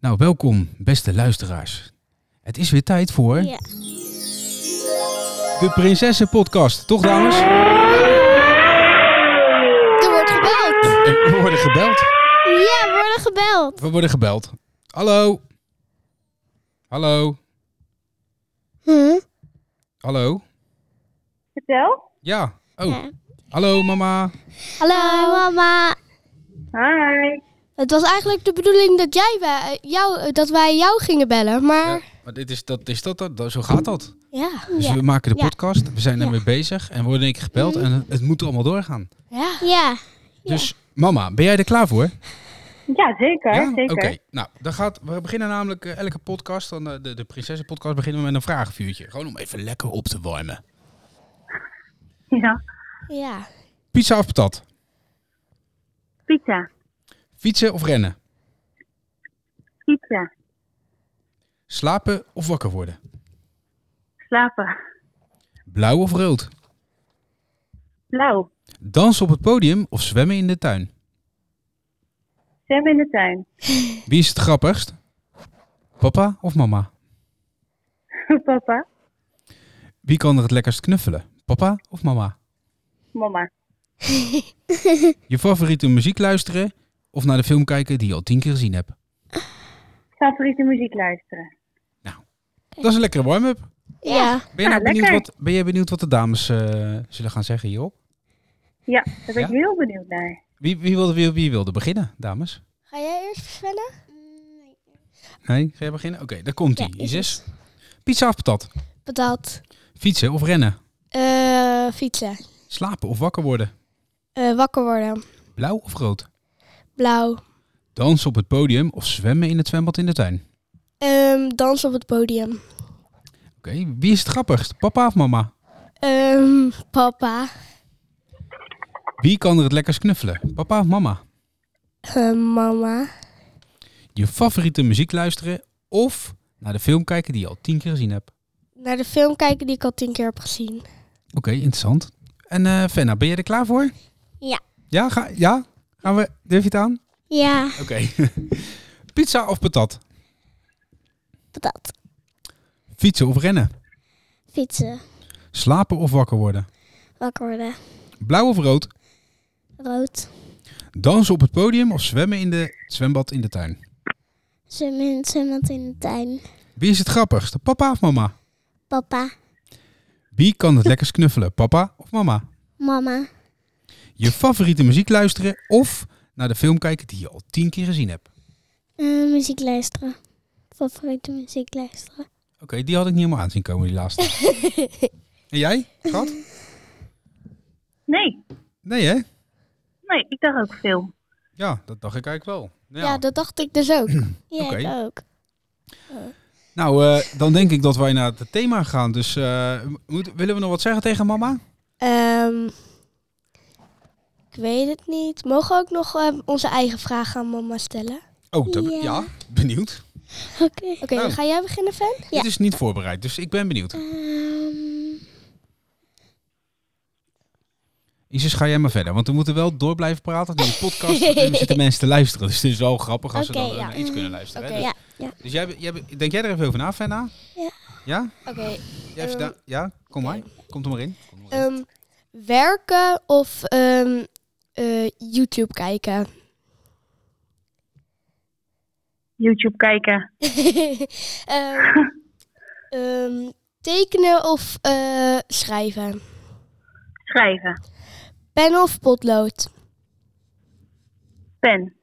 Nou, welkom beste luisteraars. Het is weer tijd voor Ja. de Prinsessenpodcast, toch dames? Er wordt gebeld. We worden gebeld. Ja, we worden gebeld. We worden gebeld. Hallo. Hallo. Hm? Hallo. Vertel. Ja. Oh, Ja. hallo mama. Hallo mama. Hi. Het was eigenlijk de bedoeling dat, jij wij, jou, eh, dat wij jou gingen bellen, maar... Maar dit is dat, is dat, dat, zo gaat dat. Ja. Dus we maken de Ja. podcast, we zijn ermee bezig en we worden een keer gebeld en het moet allemaal doorgaan. Ja. ja. Dus mama, ben jij er klaar voor? Ja, zeker. Oké, zeker. nou, dan gaat, we beginnen namelijk eh, elke podcast, dan, eh, de, de Prinsessenpodcast, beginnen we met een vragenvuurtje. Gewoon om even lekker op te warmen. Ja. Ja. Pizza of patat? Pizza. Fietsen of rennen? Pizza. Slapen of wakker worden? Slapen. Blauw of rood? Blauw. Dansen op het podium of zwemmen in de tuin? Sam in de tuin. Wie is het grappigst? Papa of mama? Papa. Wie kan er het lekkerst knuffelen? Papa of mama? Mama. Je favoriete muziek luisteren of naar de film kijken die je al tien keer gezien hebt? Favoriete muziek luisteren. Dat is een lekkere warm-up. Ja. Ben, je nou Ja, benieuwd lekker. wat, ben jij benieuwd wat de dames eh, zullen gaan zeggen hierop? Ja, daar ben ik Ja? heel benieuwd naar. Wie, wie, wilde, wie, wie wilde beginnen, dames? Ga jij eerst zwemmen? Mm, Nee. Nee? Ga jij beginnen? Oké, daar komt ie. Ja, dus. Isis. Pizza of patat? Patat. Fietsen of rennen? Eh, fietsen. Slapen of wakker worden? Eh, wakker worden. Blauw of rood? Blauw. Dansen op het podium of zwemmen in het zwembad in de tuin? Ehm dans op het podium. Oké, wie is het grappigst? Papa of mama? Ehm papa. Wie kan er het lekkerst knuffelen? Papa of mama? Ehm, mama. Je favoriete muziek luisteren of naar de film kijken die je al tien keer gezien hebt? Naar de film kijken die ik al tien keer heb gezien. Oké, interessant. En eh Fenna, ben je er klaar voor? Ja. Ja? Ga, ja? Gaan we, durf je het aan? Ja. Oké. Pizza of patat? Patat. Fietsen of rennen? Fietsen. Slapen of wakker worden? Wakker worden. Blauw of rood? Rood. Dansen op het podium of zwemmen in de het zwembad in de tuin? Zwemmen in het zwembad in de tuin. Wie is het grappigst, papa of mama? Papa, Wie kan het lekkerst knuffelen, papa of mama? mama. Je favoriete muziek luisteren of naar de film kijken die je al tien keer gezien hebt? Eh, muziek luisteren. Favoriete muziek luisteren. Oké, die had ik niet helemaal aan zien komen, die laatste. en jij, schat? Nee. Nee hè? Nee, ik dacht ook film. Ja, dat dacht ik eigenlijk wel. Ja, dat dacht ik dus ook. ja, Oké. ik ook. Nou, eh, dan denk ik dat wij naar het thema gaan. Dus eh, moet- willen we nog wat zeggen tegen mama? Ehm, ik weet het niet. Mogen we ook nog eh, onze eigen vragen aan mama stellen? Oh, dat- Ja. ja, benieuwd. Oké. Oké, Nou. ga jij beginnen, Fan? Dit is niet voorbereid, dus ik ben benieuwd. Ehm, Isis, ga jij maar verder, want we moeten wel door blijven praten. In de podcast eh, zitten mensen te luisteren, dus het is wel grappig als Oké, ze dan eh, ja. naar iets kunnen luisteren. hè. ja. Dus, dus jij, be- jij, be- denk jij er even over na, Fenna? Ja. Ja? Oké. Jij heeft Ehm, da- ja? Kom maar. Komt er maar in. Kom er maar in. ehm, werken of ehm, eh, YouTube kijken? YouTube kijken. Ehm, ehm, tekenen of eh, schrijven? Schrijven. Pen of potlood? Pen.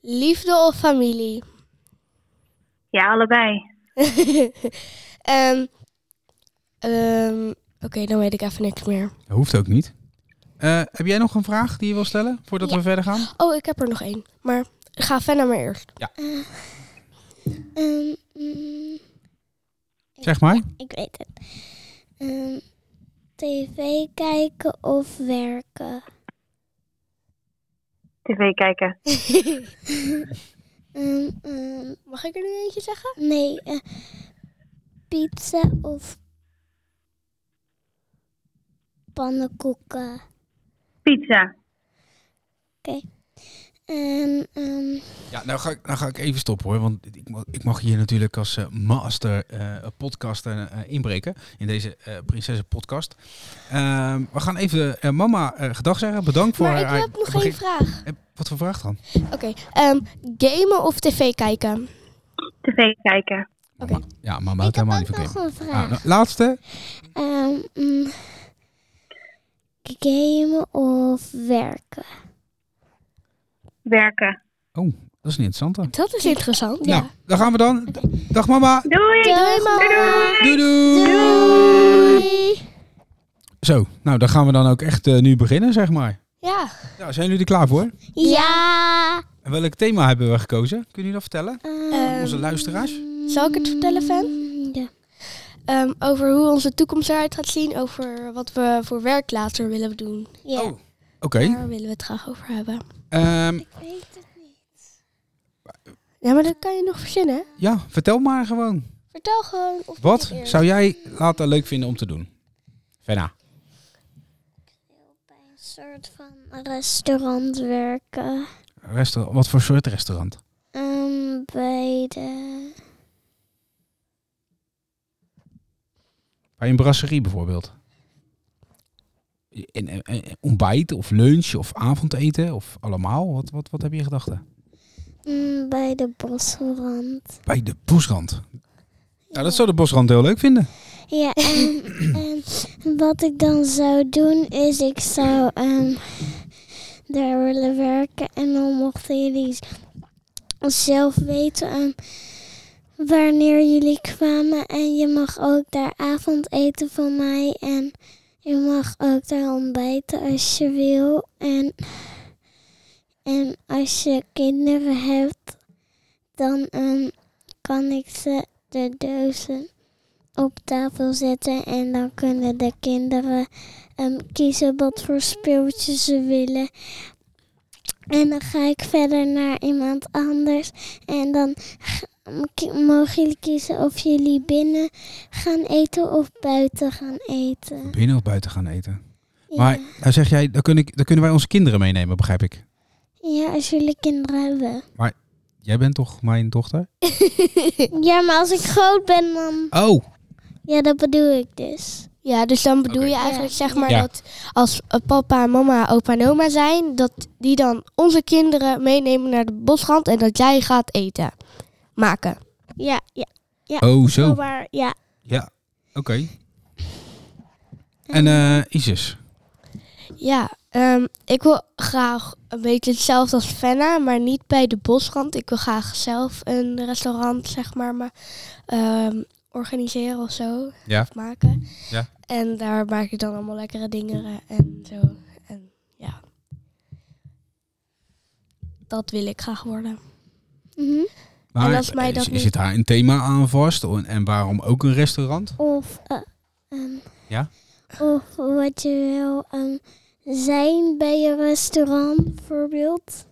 Liefde of familie? Ja, allebei. Ehm, ehm, Oké, dan weet ik even niks meer. Dat hoeft ook niet. Eh, heb jij nog een vraag die je wil stellen voordat we verder gaan? Oh, ik heb er nog één. Maar ga Fenna maar eerst. ehm, mm, Zeg maar. Ik weet het. Ehm, TV kijken of werken? TV kijken. Ehm, ehm, Mag ik er nu eentje zeggen? nee, eh, pizza of pannenkoeken? Pizza. En ehm, Ja, nou ga, ik, nou ga ik even stoppen hoor. Want ik, mo- ik mag hier natuurlijk als eh, master eh, podcaster eh, inbreken. In deze eh Prinsessen podcast. Ehm, we gaan even eh, mama eh, gedag zeggen. Bedankt voor Maar ik haar... heb nog begin- één vraag. Eh, Wat voor vraag dan? Oké, ehm, gamen of tv kijken? tv kijken. Oké. Mama- Ja, mama houdt ik heb helemaal niet ook van nog gamen. een Ah, vraag. nou, laatste. Ehm, mm, gamen of werken? Werken. Oh, dat is een interessante. Dat is interessant. Ja. Nou, daar gaan we dan. Dag mama. Doei! Doei, mama. Doei doei. Doei. Zo, nou dan gaan we dan ook echt eh, nu beginnen zeg maar. Ja. Nou, zijn jullie er klaar voor? Ja. En welk thema hebben we gekozen? Kunnen jullie dat vertellen? Ehm, Onze luisteraars? Zal ik het vertellen, Fan? Mm, Ja. Ehm, over hoe onze toekomst eruit gaat zien. Over wat we voor werk later willen doen. Ja. Oh, oké. Daar willen we het graag over hebben. Ehm, Ik weet het niet. Ja, maar dat kan je nog verzinnen. ja, vertel maar gewoon. Vertel gewoon. Of Wat zou jij later leuk vinden om te doen? Fenna. Bij een soort van restaurant werken. Restaurant, wat voor soort restaurant? Ehm, bij de... Bij een brasserie bijvoorbeeld. En, en- en- ontbijt of lunch of avondeten of allemaal? Wat, wat, wat heb je in gedachten? mm, bij de bosrand. Bij de bosrand. Nou, dat zou de bosrand heel leuk vinden. Ja, en, en wat ik dan zou doen is ik zou ehm, daar willen werken. En dan mochten jullie zelf weten ehm, wanneer jullie kwamen. En je mag ook daar avondeten van mij. En je mag ook daar ontbijten als je wil. En, en als je kinderen hebt, dan ehm, kan ik ze de dozen op tafel zetten en dan kunnen de kinderen ehm, kiezen wat voor speeltjes ze willen. En dan ga ik verder naar iemand anders en dan g- ki- mogen jullie kiezen of jullie binnen gaan eten of buiten gaan eten. Binnen of buiten gaan eten. Ja. Maar nou zeg jij, dan, kun ik, dan kunnen wij onze kinderen meenemen, begrijp ik. ja, als jullie kinderen hebben. Jij bent toch mijn dochter? Ja, maar als ik groot ben dan... Oh, Ja, dat bedoel ik dus. Ja, dus dan bedoel Oké. je eigenlijk zeg maar Ja. dat als eh, papa, en mama, opa en oma zijn, dat die dan onze kinderen meenemen naar de bosrand en dat jij gaat eten maken. Ja, ja. oh zo. Maar ja. Ja, oké. En eh Isis? Ja, ehm, ik wil graag een beetje hetzelfde als Fenna, maar niet bij de bosrand. Ik wil graag zelf een restaurant, zeg maar, maar ehm, organiseren of zo. Ja. Of maken. Ja. En daar maak ik dan allemaal lekkere dingen en zo. En ja. Dat wil ik graag worden. Mhm. Maar, als mij eh, dat z- niet- Zit daar een thema aan vast? En, en waarom ook een restaurant? Of, eh, ehm, Ja? of wat je wil ehm, zijn bij je restaurant, bijvoorbeeld.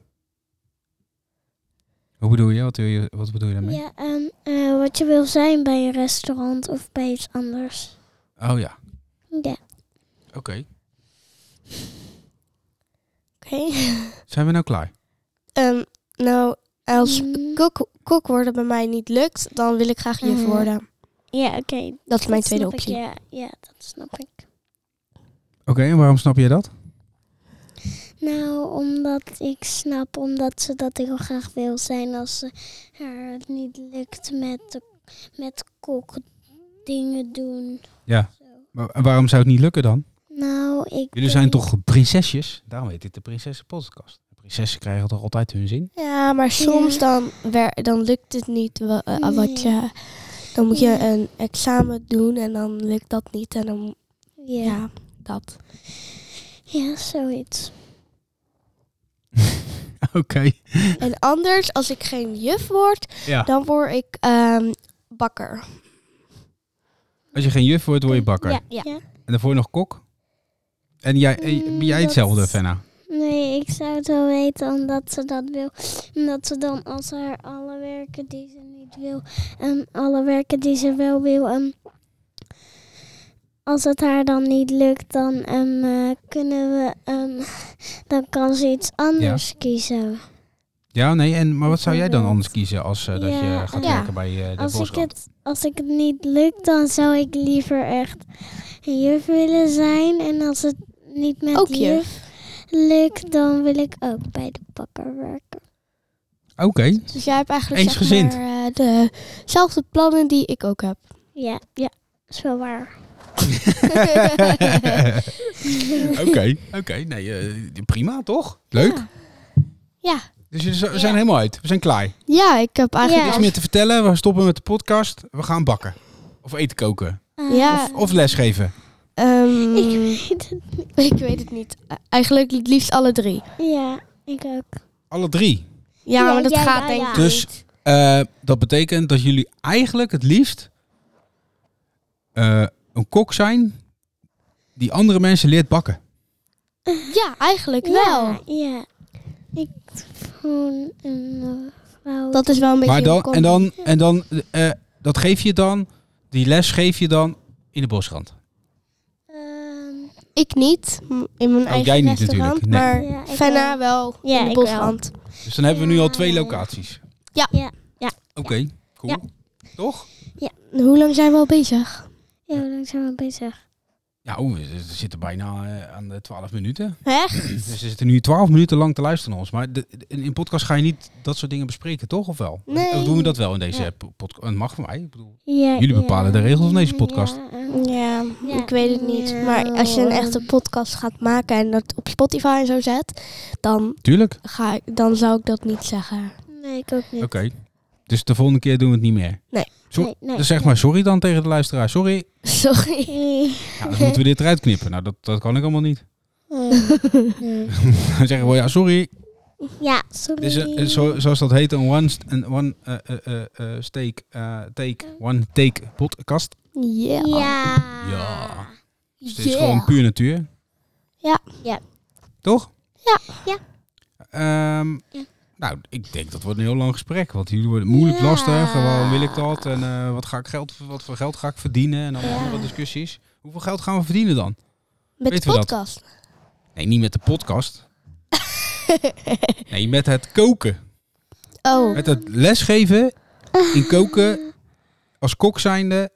Hoe bedoel je? Wat, wil je, wat bedoel je daarmee? Ja, ehm, eh, wat je wil zijn bij een restaurant of bij iets anders. Oh ja, Ja. oké. Oké. Zijn we nou klaar? Ehm, nou, als Mhm. kok, kok worden bij mij niet lukt, dan wil ik graag juf Mhm. worden. Ja, oké. Dat is mijn dat tweede snap ik, optie. ja, ja, dat snap ik. Oké, en waarom snap je dat? Nou, omdat ik snap, omdat ze dat heel graag wil zijn als ze haar het niet lukt met, de- met kok dingen doen. Ja. Zo. Wa- en waarom zou het niet lukken dan? Nou, ik Jullie zijn denk- toch prinsesjes? Daarom heet dit de Prinsessenpodcast. Prinsessen krijgen toch altijd hun zin? Ja, maar soms Ja. Dan, wer- dan lukt het niet. wa- eh, Nee. wat je, dan moet je Ja. een examen doen en dan lukt dat niet. En dan, Ja, ja, dat. ja zoiets. oké. En anders, als ik geen juf word, Ja. dan word ik ehm, bakker. Als je geen juf wordt, word je bakker. Ja, ja. En daarvoor nog kok? En jij, eh, ben Mm, jij dat- hetzelfde, Fenna? Nee, ik zou het wel weten omdat ze dat wil. Omdat ze dan als haar alle werken die ze niet wil en alle werken die ze wel wil. En als het haar dan niet lukt, dan ehm, eh, kunnen we. ehm, dan kan ze iets anders kiezen. Ja, nee. En, maar wat zou jij dan anders kiezen als eh, dat Ja, je gaat ja. werken bij eh, de Als ik, Volkskrant? het, als ik het niet lukt, dan zou ik liever echt een juf willen zijn. En als het niet met Ook juf, juf. lukt, dan wil ik ook bij de bakker werken. Oké. Dus jij hebt eigenlijk zeg Eensgezind. maar, eh, dezelfde plannen die ik ook heb. Ja, ja, is wel waar. Oké. Oké. Nee, eh, prima toch? Leuk. Ja. Ja. Dus we z- we zijn helemaal uit. We zijn klaar. Ja, ik heb eigenlijk... Ja. Niks meer te vertellen. We stoppen met de podcast. We gaan bakken. Of eten koken. Ah, dus- Ja. Of lesgeven. ehm, Hmm. Ik weet het. ik weet het niet. Eh, Eigenlijk het liefst alle drie. Ja, ik ook. Alle drie. Ja, Ja, maar dat ja, gaat ja, denk ja. ik Dus- niet. Eh, dat betekent dat jullie eigenlijk het liefst eh, een kok zijn die andere mensen leert bakken. Ja, eigenlijk wel. Ja, ja. Ik gewoon een eh, vrouw. Dat is wel een beetje Maar dan, een en dan, en dan eh, dat geef je dan, die les geef je dan in de bosrand. Ehm, Ik niet, m- in mijn eigen Oh, jij niet restaurant, natuurlijk, nee. maar Ja, ik Fenna wel Ja, in de ik wel. bosrand. Dus dan hebben we nu al twee Ja. locaties. Ja. Ja, ja. Oké, cool. Ja. Toch? Hoe lang zijn we al bezig? ja, hoe lang zijn we bezig? Ja, oeh, we we zitten bijna eh, aan de twaalf minuten. Echt? Dus we zitten nu twaalf minuten lang te luisteren naar ons. Maar de- de- in een podcast ga je niet dat soort dingen bespreken, toch? Of wel? Nee. Of doen we dat wel in deze Ja. podcast? Dat mag van mij. Ik bedoel, Ja, Jullie bepalen de regels van deze ja, podcast. ja. ehm, Ja, Ja. ik weet het niet. Maar als je een echte podcast gaat maken en dat op Spotify en zo zet, dan, Tuurlijk. ga ik, dan zou ik dat niet zeggen. Nee, ik ook niet. Oké. Dus de volgende keer doen we het niet meer. Nee. Zo- Nee, nee. Dus zeg maar sorry dan tegen de luisteraar. Sorry. Sorry. Nee. Ja, dan moeten we dit eruit knippen. Nou, dat, dat kan ik allemaal niet. Nee. Dan zeggen we ja, sorry. Ja, sorry. Dit is een- een- zo, zoals dat heet, een one, st- een one eh, eh, eh, eh, steak, eh, take, one take podcast. Yeah. Ja. Ja. Dus dit is Yeah. gewoon puur natuur. Ja. Ja. Toch? Ja. Ja. Ehm, Ja. Nou, ik denk dat wordt een heel lang gesprek. Want jullie worden moeilijk Ja. lastig. en Waarom wil ik dat? En eh, wat, ga ik geld, wat voor geld ga ik verdienen? En allemaal Ja. andere discussies. Hoeveel geld gaan we verdienen dan? Met Weten de we dat? podcast. Nee, niet met de podcast. nee, met het koken. Oh, Met het lesgeven in koken als kok zijnde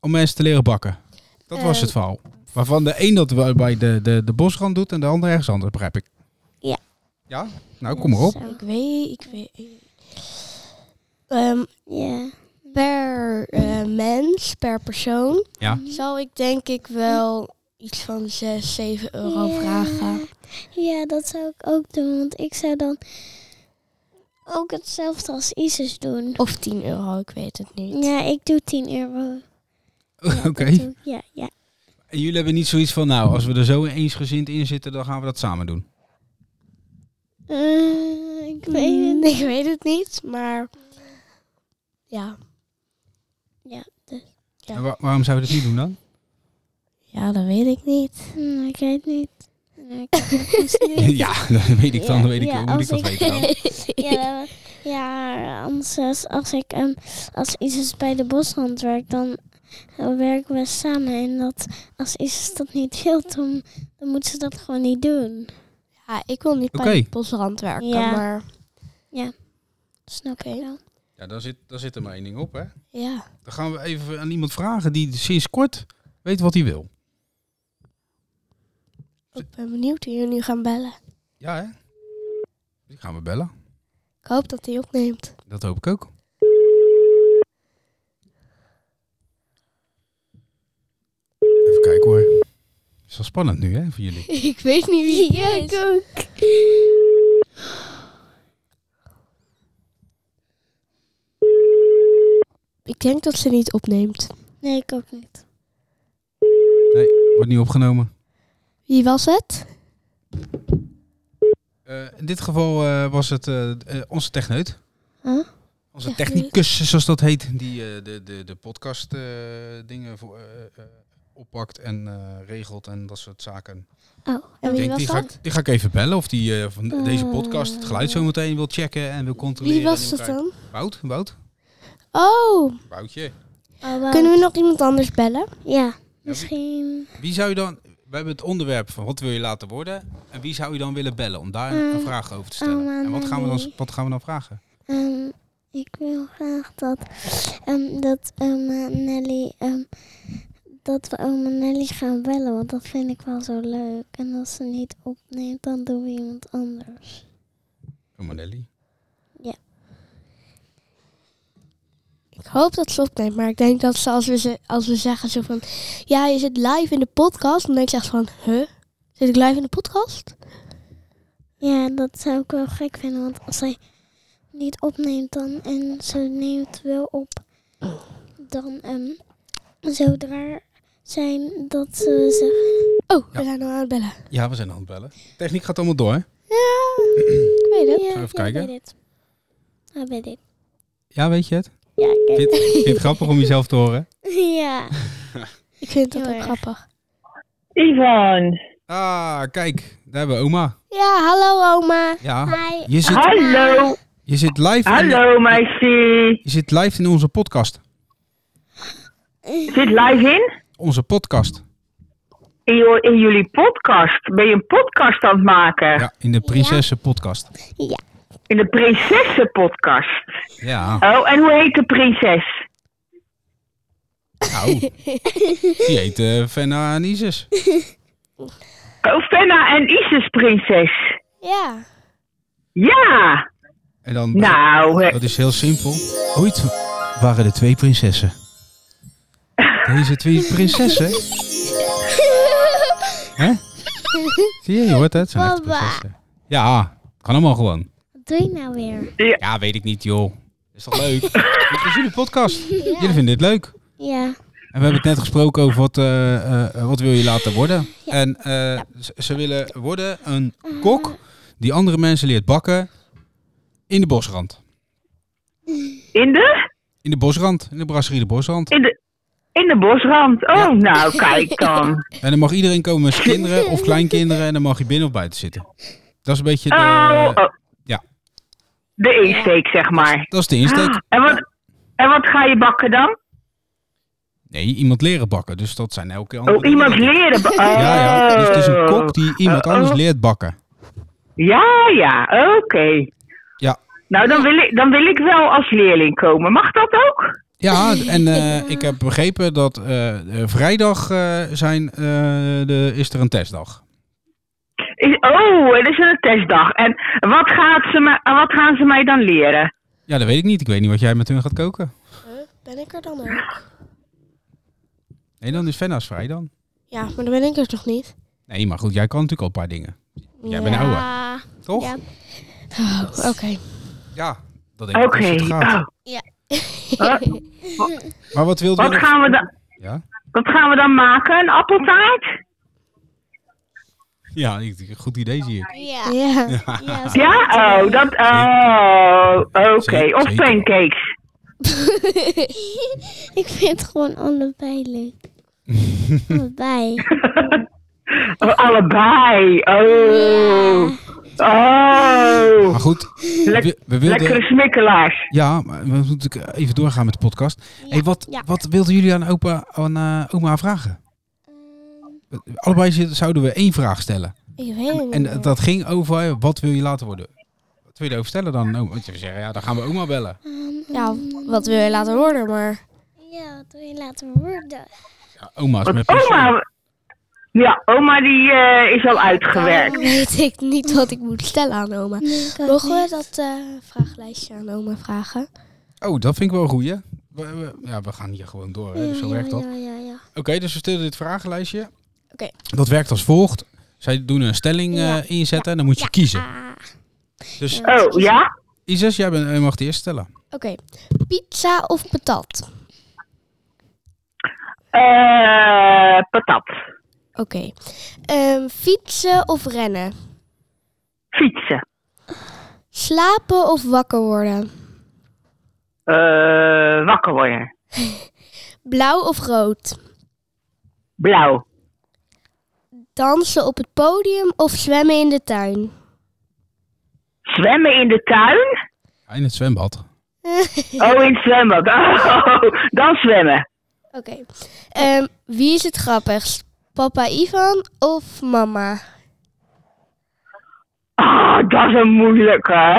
om mensen te leren bakken. Dat was Eh. het verhaal. Waarvan de een dat wel bij de, de, de bosrand doet en de ander ergens anders, begrijp ik. Ja. Ja? Nou, kom maar op. Zo. ik weet, ik weet. Ehm, Ja. per eh, mens, per persoon, Ja. zou ik denk ik wel iets van 6, 7 euro Ja. vragen. Ja, dat zou ik ook doen, want ik zou dan ook hetzelfde als Isis doen. Of 10 euro, ik weet het niet. Ja, ik doe 10 euro. Ja, Oké. dat doe ik. Ja, ja. En jullie hebben niet zoiets van, nou, als we er zo eensgezind in zitten, dan gaan we dat samen doen. Eh, ik weet het Mm, niet. Ik weet het niet, maar ja. Ja. En wa- waarom zou je dat niet doen dan? Ja, dat weet ik niet. Hm, ik weet het niet. Nee, ik- dus ja, dat weet ik dan. Ja, Dat weet ik, ja, moet ik als dat ik- weten dan? ja, eh, ja, anders als- als ik ehm, als Isis bij de bosrand werkt, dan eh, werken we samen. En dat, als Isis dat niet wil, dan, dan moet ze dat gewoon niet doen. Ja, ik wil niet bij Oké. de bosrand werken, Ja. maar Snap je wel? Ja, daar zit, daar zit een mening op, hè? ja. Dan gaan we even aan iemand vragen die sinds kort weet wat hij wil. Ik ben benieuwd hoe jullie nu gaan bellen. Ja, hè? Dus Die gaan we bellen. Ik hoop dat hij opneemt. Dat hoop ik ook. Even kijken hoor. is wel spannend nu, hè, voor jullie. ik weet niet wie Ja, het ik is. ook. Ik denk dat ze niet opneemt. Nee, ik ook niet. Wordt niet opgenomen. Wie was het? Eh, in dit geval eh, was het eh, eh, onze techneut. Huh? Onze Techneut. technicus, zoals dat heet, die eh, de, de, de podcast eh, dingen voor, eh, eh, oppakt en eh, regelt en dat soort zaken. Oh, En Ik wie denk, was die, dat? ga ik, die ga ik even bellen of die eh, van de- deze podcast het geluid zo meteen wil checken en wil controleren. Wie was en dat wil dan? kijken. Wout, Wout, Oh, Woutje. oh, wauw. kunnen we nog iemand anders bellen? Ja, misschien. Wie zou je dan... we hebben het onderwerp van wat wil je laten worden? En wie zou je dan willen bellen om daar een Eh, vraag over te stellen? oh, Amanda en wat gaan, we dan, Lee. wat gaan we dan vragen? Ehm, ik wil graag dat, ehm, dat oma Nelly, ehm, dat we oma Nelly gaan bellen, want dat vind ik wel zo leuk. En als ze niet opneemt, dan doen we iemand anders. Oh, Manelli. Ik hoop dat ze opneemt, maar ik denk dat ze als we, ze, als we zeggen zo van... Ja, je zit live in de podcast. Dan denk ik echt van, huh? Zit ik live in de podcast? Ja, dat zou ik wel gek vinden, want als zij niet opneemt dan en ze neemt wel op, dan ehm, zodra zijn dat ze zegt, Oh, Ja. we zijn al aan het bellen. Ja, we zijn aan het bellen. Techniek gaat allemaal door. hè? Ja, ik weet het. ja, even ik kijken. weet het. Ik weet het. Ja, weet je het? Ja, ik weet Vind vind je het grappig om jezelf te horen? het. Ja. Ik vind dat Heel ook erg. grappig. Yvonne. Ah, kijk. Daar hebben we oma. Ja, hallo oma. Ja. Hi. Je zit, Hallo. je zit, live, in, Hallo, meisje. je zit live in onze podcast. Zit live in? Onze podcast. In, jo- in jullie podcast. Ben je een podcast aan het maken? Ja, in de Prinsessen podcast. In de prinsessenpodcast. Ja. Oh, en hoe heet de prinses? Nou, die heet eh Fenna en Isis. Oh, Fenna en Isis prinses. Ja. Ja. En dan, Nou, hè. dat is heel simpel. Ooit waren er twee prinsessen. Deze twee prinsessen. Hè? Zie je, je hoort het. het zijn echte Baba. prinsessen. Ja, kan allemaal gewoon. Wat doe je nou weer? Ja, weet ik niet, joh. Is toch leuk? Dit is jullie podcast. Jullie vinden dit leuk. Ja. En we hebben het net gesproken over wat, eh, eh, wat wil je laten worden. En eh, ze- ze willen worden een kok die andere mensen leert bakken in de bosrand. in de? In de bosrand, in de brasserie de bosrand. In de? In de bosrand. Oh, nou, kijk dan. En dan mag iedereen komen met zijn kinderen of kleinkinderen en dan mag je binnen of buiten zitten. Dat is een beetje de, Oh, oh. ja. De insteek, zeg maar. Ah, dat is de insteek. En wat, en wat ga je bakken dan? Nee, iemand leren bakken, dus dat zijn elke andere Oh, iemand dingen. leren ba- Oh. Ja, ja, dus het is een kok die iemand anders leert bakken. Ja, ja, oké. Ja. Nou, dan wil, ik, dan wil ik wel als leerling komen. Mag dat ook? Ja, en eh, ik heb begrepen dat eh, eh, vrijdag eh, zijn, eh, de, is er een testdag. Is- oh, het is een testdag. En wat, gaat ze me, wat gaan ze mij dan leren? Ja, dat weet ik niet. Ik weet niet wat jij met hun gaat koken. Ben ik er dan ook? Nee, dan is Venna's vrij dan. Ja, maar dan ben ik er toch niet? Nee, maar goed, jij kan natuurlijk al een paar dingen. Jij bent Ja. ouder, toch? Ja. Ja, Oh, Oké. dat denk Oké. ik als het gaat. Oh, Maar wat wilde je wat, nog- gaan we dan, Ja? wat gaan we dan maken? Een appeltaart? Ja, ik- goed idee zie ik. Ja. Ja. Ja. zo- Ja? Oh, dat... Oh, oké. Zeker, Of zeker. pancakes. ik vind het gewoon allebei leuk. allebei. Oh, allebei. Oh. Oh. Maar goed, eh, Lek- we, we Lekkere wilden... smikkelaars. Ja, maar we moeten natuurlijk even doorgaan met de podcast. hey, wat, ja. wat wilden jullie aan, opa, aan eh, oma vragen? Allebei zi- zouden we één vraag stellen. Ehm, Ik weet het niet. En Oh. meer. eh, dat ging over eh, wat wil je laten worden? Wat wil je erover stellen dan? aan oma? Want je zou zeggen, ja, dan gaan we oma bellen. Ehm, Ja, wat wil je laten worden, maar... Ja, wat wil je laten worden? Ja, oma is met pensioen. Oma. Ja, oma die eh, is al uitgewerkt. Dan weet ik niet wat ik moet stellen aan oma. Nee, ik ook Mogen we niet. dat eh, vraaglijstje aan oma vragen? Oh, dat vind ik wel een goeie. We, we- ja, we gaan hier gewoon door. Hè? Dus zo Ja, werkt dat. Ja, ja, ja. Oké, dus we stillen dit vragenlijstje. Oké. Dat werkt als volgt. Zij doen een stelling eh, Ja. inzetten en dan moet je kiezen. Ah, Dus Oh, ja? Isis, jij bent, eh, mag de eerste stellen. Oké. Pizza of patat? Eh, patat. Oké. Ehm, fietsen of rennen? Fietsen. Slapen of wakker worden? Eh, wakker worden. Blauw of rood? Blauw. Dansen op het podium of zwemmen in de tuin? Zwemmen in de tuin? Ja, In het zwembad. Oh, in het zwembad. Oh, dan zwemmen. Oké. Ehm, wie is het grappigst? papa Ivan of mama? Ah, dat is een moeilijke. hè?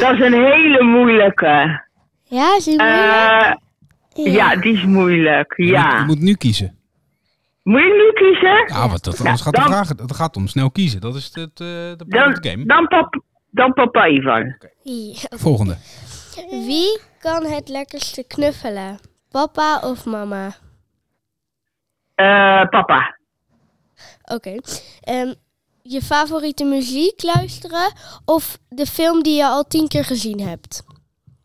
Dat is een hele moeilijke. ja, is die moeilijk? Eh, ja, die is moeilijk. Je, Ja. moet nu kiezen. Moet je nu kiezen? Ja, want dat, anders gaat de dan- vraag, het gaat om snel kiezen. Dat is het, eh de part of the Dan, game. dan, pap, dan papa Ivan. Ja. Volgende. Wie kan het lekkerste knuffelen? Papa of mama? Eh, papa. Oké. Ehm, je favoriete muziek luisteren of de film die je al tien keer gezien hebt?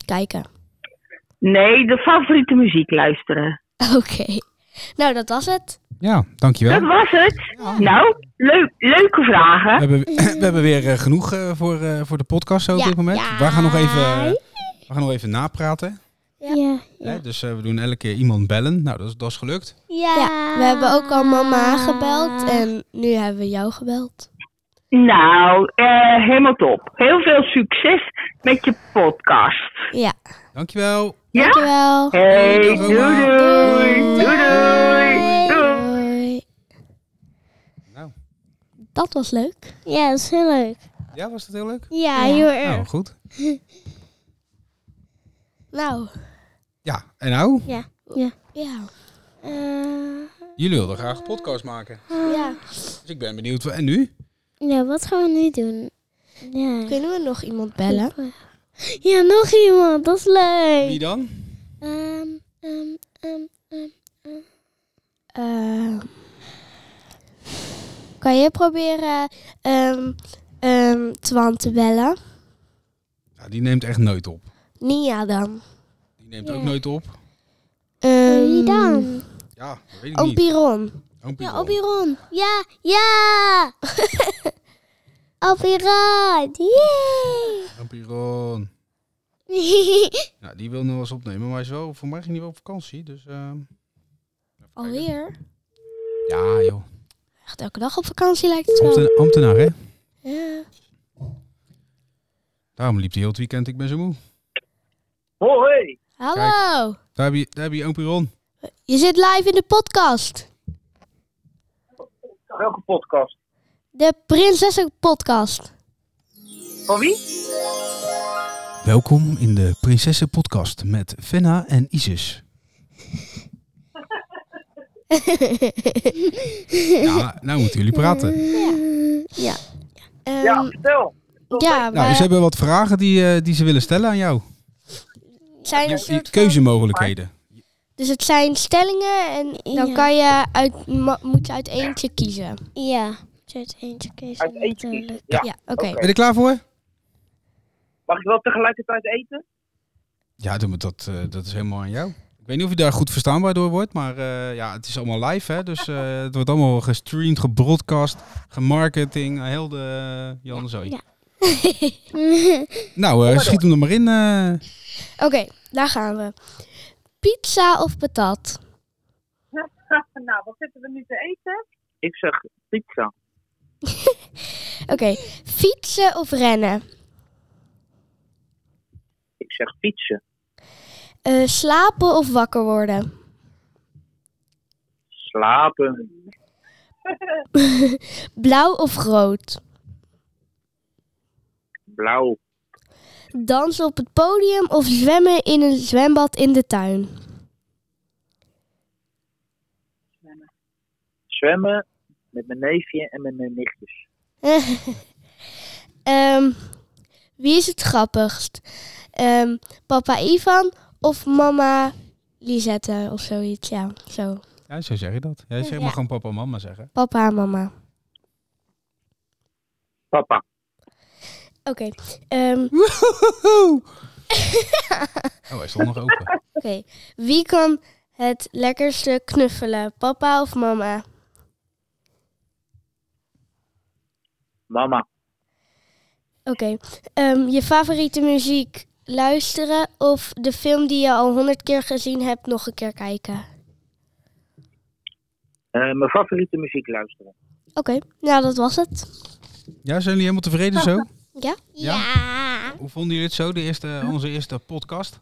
Kijken. Nee, de favoriete muziek luisteren. Oké. Nou, dat was het. Ja, Dat dankjewel. was het. Nou, leuk, leuke We vragen. hebben, we hebben weer eh, genoeg eh, voor, eh, voor de podcast zo op Ja. dit moment. Ah. Ja. We gaan nog even, we gaan nog even napraten. Ja. Ja. Hè? Dus eh, we doen elke keer iemand bellen. Nou, dat is, dat is gelukt. Ja, we hebben ook al mama gebeld en nu hebben we jou gebeld. Nou, eh, helemaal top. Heel veel succes met je podcast. Ja, Dankjewel. Ja? dankjewel. Hey, doei Dag, oma. doei. Doei doei. Doei. Doei. Nou. Dat was leuk. Ja, dat is heel leuk. Ja, was dat heel leuk? Ja, heel Nou, erg. goed. Nou, Ja, en nou? ja. Eh, Jullie wilden graag een podcast maken. ja. Dus ik ben benieuwd. wa- En nu? Ah. ja, wat gaan we nu doen? Ja. Kunnen we nog iemand bellen? ja, nog iemand. Dat is leuk. Wie dan? Ehm, ehm, ehm, ehm. Ehm, kan je proberen ehm, ehm, Twan te bellen? Nou, die neemt echt nooit op. Nia dan. Die neemt Ja. ook nooit op. Wie Ehm, dan? Ja, dat weet ik niet. Opiron. Oompie Ja, wel. Obiron. Ja, ja! Obiron. Yay! Oompie Ron. Nou, die wil nog wel eens opnemen, maar hij is wel, voor mij ging hij wel op vakantie. Dus, ehm, even kijken. Alweer? Ja, joh. Echt elke dag op vakantie lijkt het wel. Ambten- ambtenaar, hè? Ja. Daarom liep hij heel het weekend, ik ben zo moe. Hoi. Hallo. Daar heb je, daar heb je oompie Ron. Je zit live in de podcast. Welke podcast? De Prinsessen Podcast. Van wie? Mm. Welkom in de Prinsessen Podcast met Fenna en Isis. ja, nou moeten jullie praten. Eh, Ehm, Ja, vertel. ja, Nou, maar ze hebben wat vragen die, eh, die ze willen stellen aan jou. zijn Je- een je soort van- keuzemogelijkheden. Dus het zijn stellingen en dan Ja. kan je uit, ma- moet je uit eentje kiezen. ja. Uit eentje kiezen. Uit eten kiezen. natuurlijk. Ja. Ja, oké. Ben je er klaar voor? Mag ik wel tegelijkertijd eten? Ja, doe maar dat, eh, dat is helemaal aan jou. Ik weet niet of je daar goed verstaanbaar door wordt, maar eh, ja, het is allemaal live, hè? Dus eh, het wordt allemaal gestreamd, gebroadcast, gemarketing, eh, heel de uh, Jan Zooi. ja. nou, eh, schiet hem er maar in. eh. Oké, daar gaan we. Pizza of patat? nou, wat zitten we nu te eten? Ik zeg pizza. Oké, fietsen of rennen? Ik zeg fietsen. Eh, slapen of wakker worden? Slapen. Blauw of rood? Blauw. Dansen op het podium of zwemmen in een zwembad in de tuin? Zwemmen met mijn neefje en met mijn nichtjes. Ehm, wie is het grappigst? Ehm, papa Ivan of mama Lisette of zoiets? Ja, zo. Ja, zo zeg je dat. Jij zegt maar gewoon papa en mama zeggen. Papa en mama. Papa. Oké. ehm, Oh, hij stond nog open. oké. Wie kan het lekkerste knuffelen? Papa of mama? Mama. Oké. ehm, je favoriete muziek luisteren of de film die je al honderd keer gezien hebt nog een keer kijken? Eh, mijn favoriete muziek luisteren. Oké, nou dat was het. Ja, zijn jullie helemaal tevreden zo? Ja? Ja. Hoe vonden jullie het zo, de eerste, onze eerste podcast?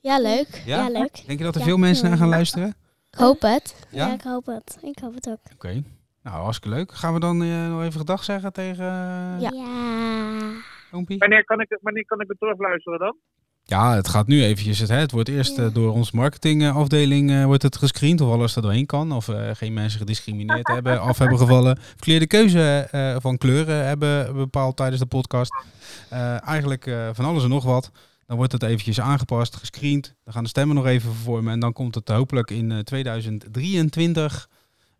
Ja, leuk. Ja, leuk. Denk je dat er Ja. veel mensen naar gaan luisteren? Ik hoop het. Ja? Ja? ik hoop het. Ik hoop het ook. Oké. Nou, hartstikke leuk. Gaan we dan eh, nog even gedag zeggen tegen eh, Ja. ja. Oompie? Wanneer kan ik, wanneer kan ik het terugluisteren dan? Ja, het gaat nu eventjes. Het, hè, het wordt eerst Ja. eh, door onze marketingafdeling eh, wordt het gescreend of alles er doorheen kan. Of eh, geen mensen gediscrimineerd hebben, af hebben gevallen. Verkeerde keuze eh, van kleuren hebben bepaald tijdens de podcast. Eh, eigenlijk eh, van alles en nog wat. Dan wordt het eventjes aangepast, gescreend. Dan gaan de stemmen nog even vervormen. En dan komt het hopelijk in eh, 2023,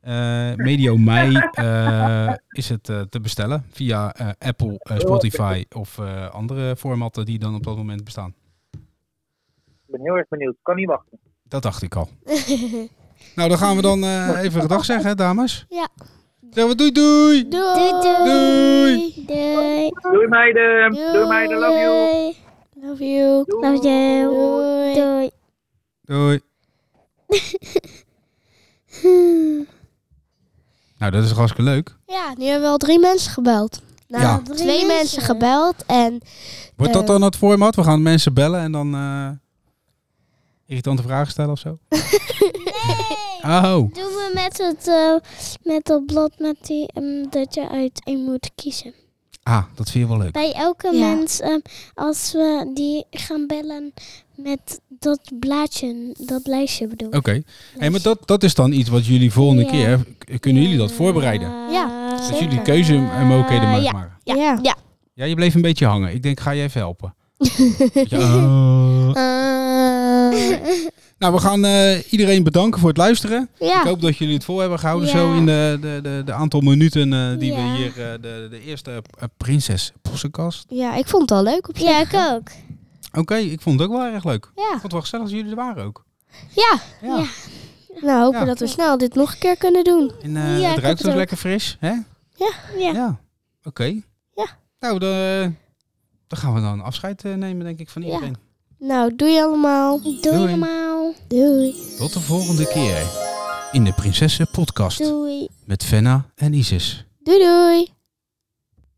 eh, medio mei, eh, is het eh, te bestellen. Via eh, Apple, eh, Spotify of eh, andere formatten die dan op dat moment bestaan. Ik ben heel erg benieuwd. Kan niet wachten. Dat dacht ik al. nou, dan gaan we dan eh, even gedag zeggen, dames. Ja. Zeggen we doei doei! Doei. Doei. Doei. Doei meiden. Doei meiden. Love you. Love you. Love you. Doei. Doei. Doei! Nou, dat is hartstikke leuk. Ja, nu hebben we al drie mensen gebeld. Nou, Ja. Ah, Drie twee mensen mensen. gebeld en Wordt Eh. dat dan het format? We gaan mensen bellen en dan eh, irritante vragen stellen of zo? Oh, Doen we met het eh, met dat blad met die, ehm, dat je uit één moet kiezen. ah, dat vind je wel leuk. Bij elke Ja. mens, ehm, als we die gaan bellen met dat blaadje, dat lijstje bedoel ik. Oké, Oh, hey, maar dat, dat is dan iets wat jullie volgende Ja. keer, k- kunnen jullie dat voorbereiden? Ja, Eh, Dat jullie keuze en mogelijkheden mogen maken. ja. ja. Ja, je bleef een beetje hangen. Ik denk, ga je even helpen. Ja, eh. Eh. Nou, we gaan eh, iedereen bedanken voor het luisteren. ja. Ik hoop dat jullie het vol hebben gehouden Ah. Ja. zo in de, de, de, de aantal minuten eh, die we Ja. hier eh, de, de eerste eh, Prinses Possenkast. Ja, ik vond het wel leuk op zich. Ja, ik ook. Oké, ik vond het ook wel erg leuk. Ik Ja. vond het wel gezellig als jullie er waren ook. Ja. Ja. Ja. Nou, hopen Ja. dat we snel dit nog een keer kunnen doen. En eh, Ja, ik het heb ruikt het ook ook. lekker fris, hè? Ja. Ja. Oké. Ja. Nou, dan, dan gaan we dan afscheid eh, nemen, denk ik, van iedereen. Nou, doei allemaal. Doei Doei. allemaal. Doei. Tot de volgende keer in de Prinsessen Podcast Doei. met Fenna en Isis. Doei doei.